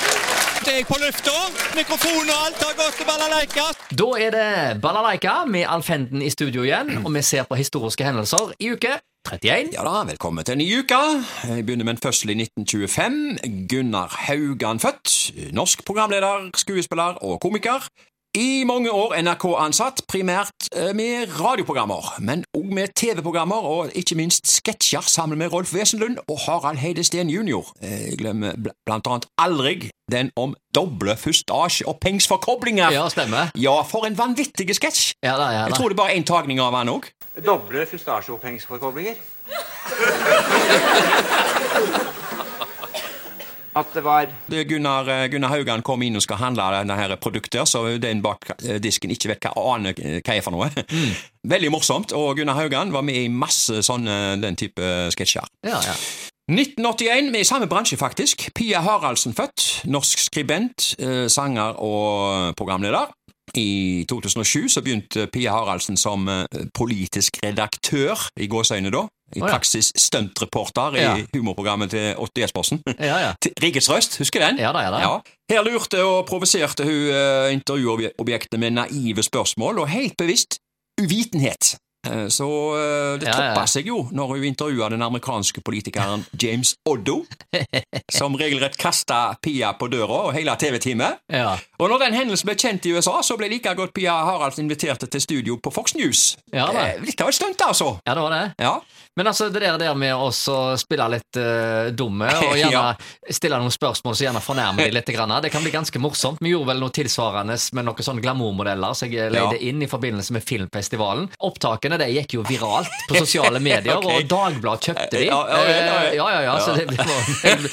Først er jeg på lufta. Mikrofon og alt har gått til balalaika. Da er det Balalaika med Alfenden i studio igjen, og vi ser på historiske hendelser i uke 31. Ja da, velkommen til en ny uke. Jeg begynner med en fødsel i 1925. Gunnar Haugan født. Norsk programleder, skuespiller og komiker. I mange år NRK-ansatt, primært eh, med radioprogrammer, men òg med TV-programmer og ikke minst sketsjer sammen med Rolf Wesenlund og Harald Heide Steen jr. Eh, Jeg glemmer bl- blant annet aldri den om doble fustasje og pengsforkoblinger. Ja, stemmer. Ja, for en vanvittig sketsj! Ja da, ja Jeg da. tror det bare er én tagning av han òg. Doble fustasjeopphengsforkoblinger. At det var Det er Gunnar, eh, Gunnar Haugan kom inn og skal handle denne her produkter, så den bak eh, disken ikke vet hva aner eh, hva er for noe. Mm. Veldig morsomt, og Gunnar Haugan var med i masse sånne den type eh, sketsjer. Ja, ja. 1981, vi er i samme bransje faktisk. Pia Haraldsen født, norsk skribent, eh, sanger og programleder. I 2007 så begynte Pia Haraldsen som eh, politisk redaktør, i gåseøyne da. I Å ja. praksis stuntreporter i Ja. humorprogrammet til Åtte Jespersen. Ja, ja. Til Rikets Røst, husker den? Ja da, ja da. Her lurte og provoserte hun eh, intervjuobjektene med naive spørsmål og helt bevisst uvitenhet. Eh, Så eh, det Ja, ja, ja. toppa seg jo når hun intervjua den amerikanske politikeren James Oddo, som regelrett kasta Pia på døra og hele TV-teamet. ja. Og når den hendelsen ble kjent i USA, så ble like godt Pia Haraldsen invitert til studio på Fox News. Ja, da. Eh, Litt av et stunt, altså. Ja, det var det. Ja. Men altså, det der, der med også å spille litt eh, dumme og gjerne Ja. stille noen spørsmål som gjerne fornærmer de litt, grann, det kan bli ganske morsomt. Vi gjorde vel noe tilsvarende med noen sånne glamourmodeller som jeg eh, leide inn i forbindelse med filmfestivalen. Opptakene de gikk jo viralt på sosiale medier, Ok. og Dagbladet kjøpte de. Ja, ja, ja, ja. Eh, ja, ja, ja, så Ja. det, det,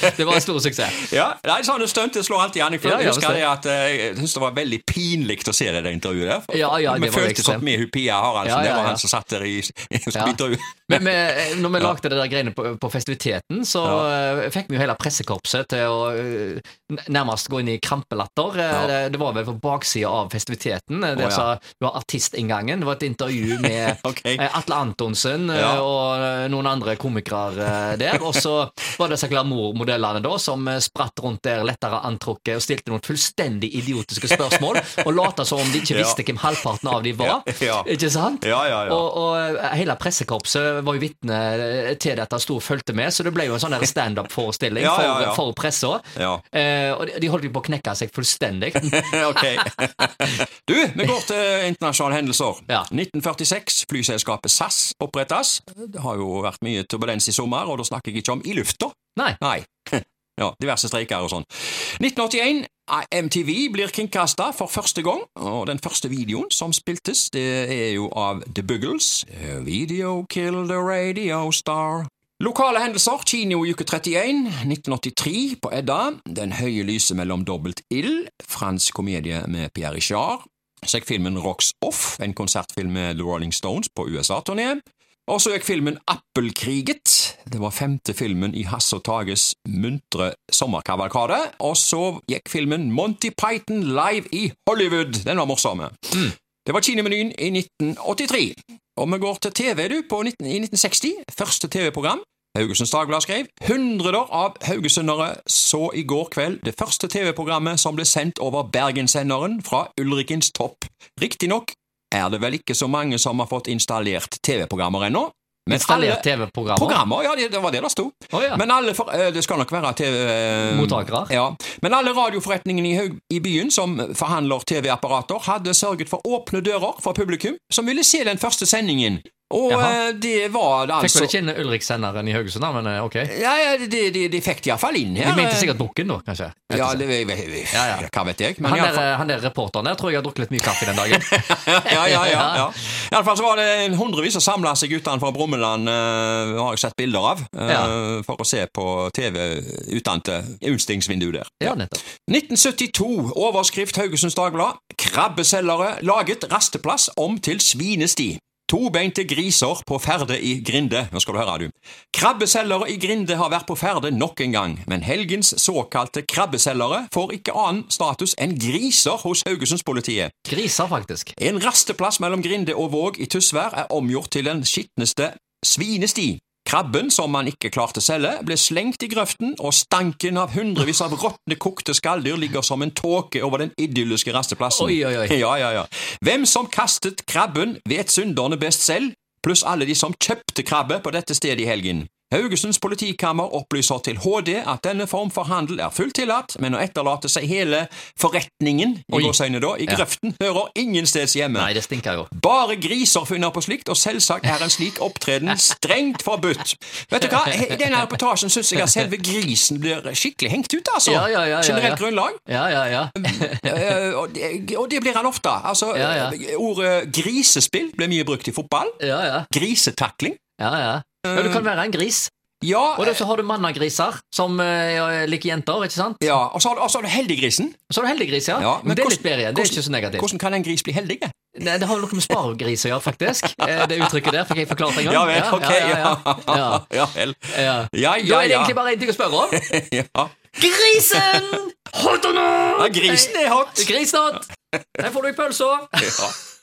var, det var en stor suksess. Ja, nei, sånne stunt det slår alltid an. Ja, Jeg føler- ja, husker visst det at eh, jeg synes det var veldig pinlig å se det der intervjuet der. For- Ja, ja, for det Vi var følte ekstremt. sånn med hun Pia Haraldsen. Ja, ja, Det var ja. han som satt der i, i Ja. intervjuet. Men vi, når vi lagde det der greiene på, på festiviteten, så eh, fikk vi jo hele pressekorpset til å eh, n- nærmest gå inn i krampelatter. Eh, Ja. Det, det var vel på baksida av festiviteten. eh, Der Å, ja. sa du har artistinngangen. Det var et intervju med Ok. eh, Atle Antonsen eh, Ja. og eh, noen andre komikere eh, der. Og så var det disse glamourmodellene da som eh, spratt rundt der lettere antrukket og stilte noen fullstendig idiotiske spørsmål og lata som om de ikke Ja. visste hvem halvparten av de var. Ja. Ikke sant? Ja, ja, ja. Og, og hele pressekorpset var jo vitne til dette, sto og fulgte med, så det ble jo en sånn der standup-forestilling Ja, ja, ja. for, for pressa. Ja. Eh, og de- de holdt jo på å knekke seg fullstendig. ok. Du, vi går til internasjonale hendelser. Ja. 1946, flyselskapet SAS opprettes. Det har jo vært mye turbulens i sommer, og da snakker jeg ikke om i lufta. Nei. Nei. Ja, diverse streiker og sånn. eh, 1981. MTV blir kringkasta for første gang, og den første videoen som spiltes, det er jo av The Buggles. A Video kill the radio star. Lokale hendelser. Kino i uke 31, 1983 på Edda. Den høye lyset mellom dobbelt ild. Fransk komedie med Pierre Richard. Så gikk filmen Rocks Off, en konsertfilm med The Rolling Stones på USA-turné. Og så gikk filmen Appelkriget. Det var femte filmen i Hasse og Tages muntre sommerkavalkade. Og så gikk filmen Monty Python Live i Hollywood. Den var morsom. Det var Kinemenyen i 1983. Og vi går til TV du, på 19, i 1960. Første TV-program. Haugesunds Dagblad skrev 100 av haugesundere så i går kveld det første TV-programmet som ble sendt over Bergenssenderen fra Ulrikkens topp. Riktignok er det vel ikke så mange som har fått installert TV-programmer ennå. Men Installert alle- TV-programmer. Programmer, ja, det, det var det det sto. Å, ja. Men alle for, eh, Det skal nok være TV... eh, Mottakere. Ja. Men alle radioforretningene i, Haug- i byen som forhandler TV-apparater, hadde sørget for åpne dører for publikum som ville se den første sendingen. Og Jaha. eh, det var det Fikk altså vel ikke inn Ulrik-senderen i Haugesund, da, men eh, ok. ja, ja, de, de, de fikk det iallfall inn her. De mente sikkert bukken, da, kanskje. Rett og eh, ja, slett. det, jeg, jeg, jeg, Ja, ja. Hva vet jeg. Men han, i alle fall- der, eh, han der reporteren der tror jeg har drukket litt mye kaffe den dagen. ja, ja, ja, ja. Ja. I alle fall så var det en hundrevis som samla seg utenfor Brummeland, eh, har jeg sett bilder av, eh, Ja. for å se på TV utenfor utstingsvinduet der. Ja, nettopp. 1972, overskrift Haugesunds Dagblad. Krabbeselgere laget rasteplass om til svinesti. Tobeinte griser på ferde i Grinde. Nå skal du høre, du. Krabbeselgere i Grinde har vært på ferde nok en gang, men helgens såkalte krabbeselgere får ikke annen status enn griser hos Haugesundspolitiet. Griser, faktisk. En rasteplass mellom Grinde og Våg i Tysvær er omgjort til den skitneste svinesti. Krabben, som man ikke klarte å selge, ble slengt i grøften, og stanken av hundrevis av råtne, kokte skalldyr ligger som en tåke over den idylliske rasteplassen. Oi, oi, oi. Ja, ja, ja. Hvem som kastet krabben, vet synderne best selv, pluss alle de som kjøpte krabbe på dette stedet i helgen. Haugesunds politikammer opplyser til HD at denne form for handel er fullt tillatt, men å etterlate seg hele forretningen i, Oi. gåseøyne da, i Ja. grøften hører ingensteds hjemme. Nei, det stinker jo. Bare griser funnet på slikt, og selvsagt er en slik opptreden strengt forbudt. Vet du hva, I denne reportasjen syns jeg at selve grisen blir skikkelig hengt ut, altså. Ja, ja, ja, ja, Generelt ja. grunnlag. Ja, ja, ja. Eh, og, det, og det blir han ofte. Altså, Ja, ja. eh, Ordet grisespill blir mye brukt i fotball. ja, ja. Grisetakling. ja, ja. Men du kan være en gris. Ja, Og da så har du mannagriser som eh, liker jenter, ikke sant? eh, ja. Og så har du- og så har du heldiggrisen. Så har du heldiggris, ja. Ja, men men det er hvordan- litt bedre. Det er ikke så negativt. Hvordan kan en gris bli heldig? eh? Nei, det har jo noe med sparegris å gjøre, faktisk. Eh, Det uttrykket der fikk jeg forklart en gang. Ja vel, ok. ja, ja, ja. Ja, ja vel. Ja. Ja, Da ja, er det ja. egentlig bare én ting å spørre om. ja. Grisen! Hot or not? ja grisen er hot! Grisnatt! Der får du i pølsa. Ja.